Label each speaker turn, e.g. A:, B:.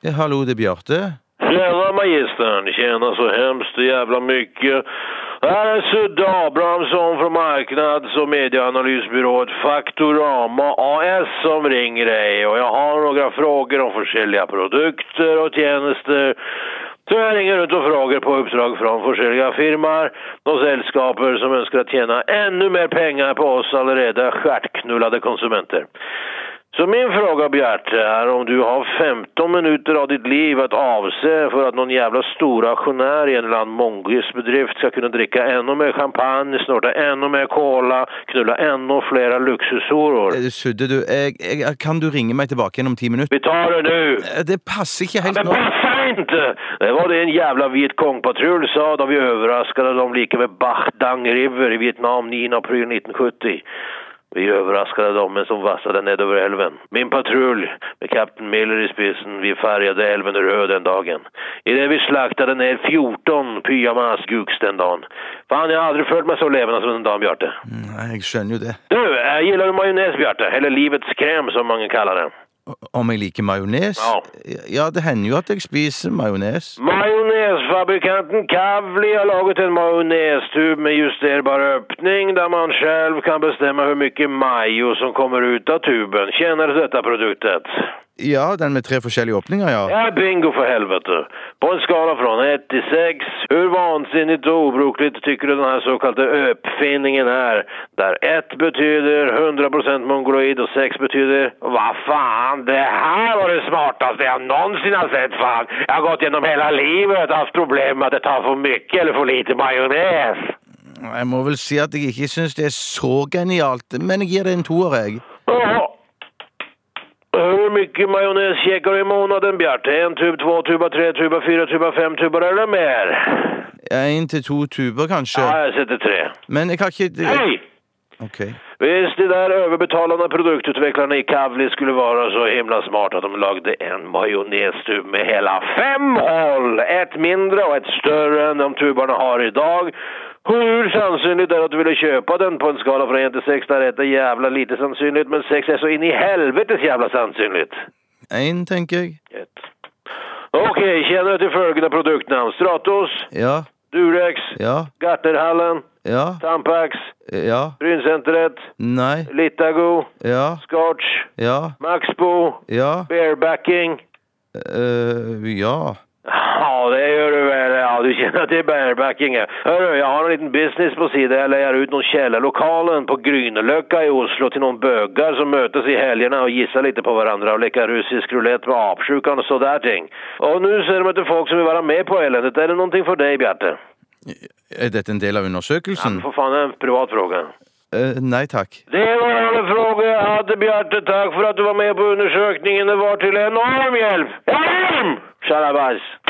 A: Ja, hallå, Eh, det är Bjarte.
B: Tjena magistern, tjena så hemskt jävla mycket. Här är Sudde Abrahamsson från marknads och medieanalysbyrået Faktorama AS som ringer dig och jag har några frågor om försäljliga produkter och tjänster. Så jag ringer runt och frågar på uppdrag från försäljliga firmar och sällskaper som önskar tjäna ännu mer pengar på oss allerede stjärtknullade konsumenter. Så min fråga Bjarte är om du har 15 minuter av ditt liv att avse för att någon jävla stor aktionär i en eller annan mongolisk bedrift ska kunna dricka ännu mer champagne, snorta ännu mer cola, knulla ännu flera luxushoror.
A: Eh, Sudde, du, jeg, jeg, kan du ringe meg tilbake igjen om ti minutter?
B: Vi tar det nu!
A: Eh, Det passer ikke helt
B: Men
A: nå.
B: passar inte! Det var det en jävla vit kongpatrull sa då vi överraskade dem lika vid Bach Dang River i Vietnam 9 april 1970. Vi överraskade dem men som vassade ned över älven. Min patrull med kapten Miller i spetsen, vi färgade älven röd den dagen. I det vi slaktade ner 14 pyjamasguks den dagen. Fan, jag har aldrig följt mig så levande som den dagen, Bjarte.
A: Nei, Mm, jeg skjønner jo det.
B: Du, äh, gillar du majonnäs, Bjarte? Eller livets kräm som många kallar den.
A: Om jeg liker majones?
B: Ja.
A: Ja, det hender jo at jeg spiser majones.
B: Majonnäsfabrikanten Kavli har lagat en majonnästub med justerbar öppning där man själv kan bestämma hur mycket majo som kommer ut av tuben. Känner du detta produktet?
A: Ja, den med tre forskjellige åpninger, ja.
B: Ja, bingo för helvete! På en skala från 1 till 6, hur vansinnigt och obrukligt tycker du den här så kallade uppfinningen är? Där 1 betyder 100% mongoloid och 6 betyder Vad fan, det här var det smartaste jag någonsin har sett fan! Jag har gått genom hela livet och haft problem med att det tar för mycket eller för lite majonnäs.
A: Jeg må vel si at jeg ikke syns det er så genialt, men jeg gir det en toer, jeg.
B: Jaha. Hur mycket majonnäs käkar du i månaden Bjarte? En tub, två tubar, tre tubar, fyra tubar, fem tubar eller mer?
A: Én til to tuber, kanskje.
B: Ja, jag sätter tre.
A: Men jag har ikke
B: Hej!
A: Ok.
B: Visst, de där överbetalande produktutvecklarna i Kavli skulle vara så himla smart att de lagde en majonnästub med hela fem håll! Ett mindre och ett större än de tubarna har idag. Hur sannolikt är det att du ville köpa den på en skala från 1 till 6 där 1 är jävla lite sannolikt men 6 är så in i helvetes jävla sannolikt.
A: Én, tenker jeg.
B: Ett. Okej, känner du till följande produktnamn? Stratos,
A: Ja,
B: Durex,
A: ja,
B: Gartnerhallen,
A: ja,
B: Tampax,
A: ja,
B: Bryncentret,
A: nei,
B: Litago,
A: ja,
B: Scotch,
A: ja,
B: Maxbo,
A: ja,
B: barebacking.
A: eh, ja.
B: Ja, det gör du väl. Ja, du känner till barebacking. ja. Hörru, jag har en liten business på sidan. Jag lejer ut någon källarlokalen på Grynelöcka i Oslo till någon bögar som mötes i helgerna och gissar lite på varandra och leker russisk roulette med apsjukan och sådär ting. Och nu ser de att det är folk som vill vara med på eländet. Är det någonting för dig, Bjarte?
A: Er dette en del av undersøkelsen?
B: För fan, det är en privat fråga.
A: Eh, nei takk.
B: Det var alla frågor jag hade, Bjarte. Tack för att du var med på undersökningen. Det var till enorm hjälp. Enorm! Tjalabajs!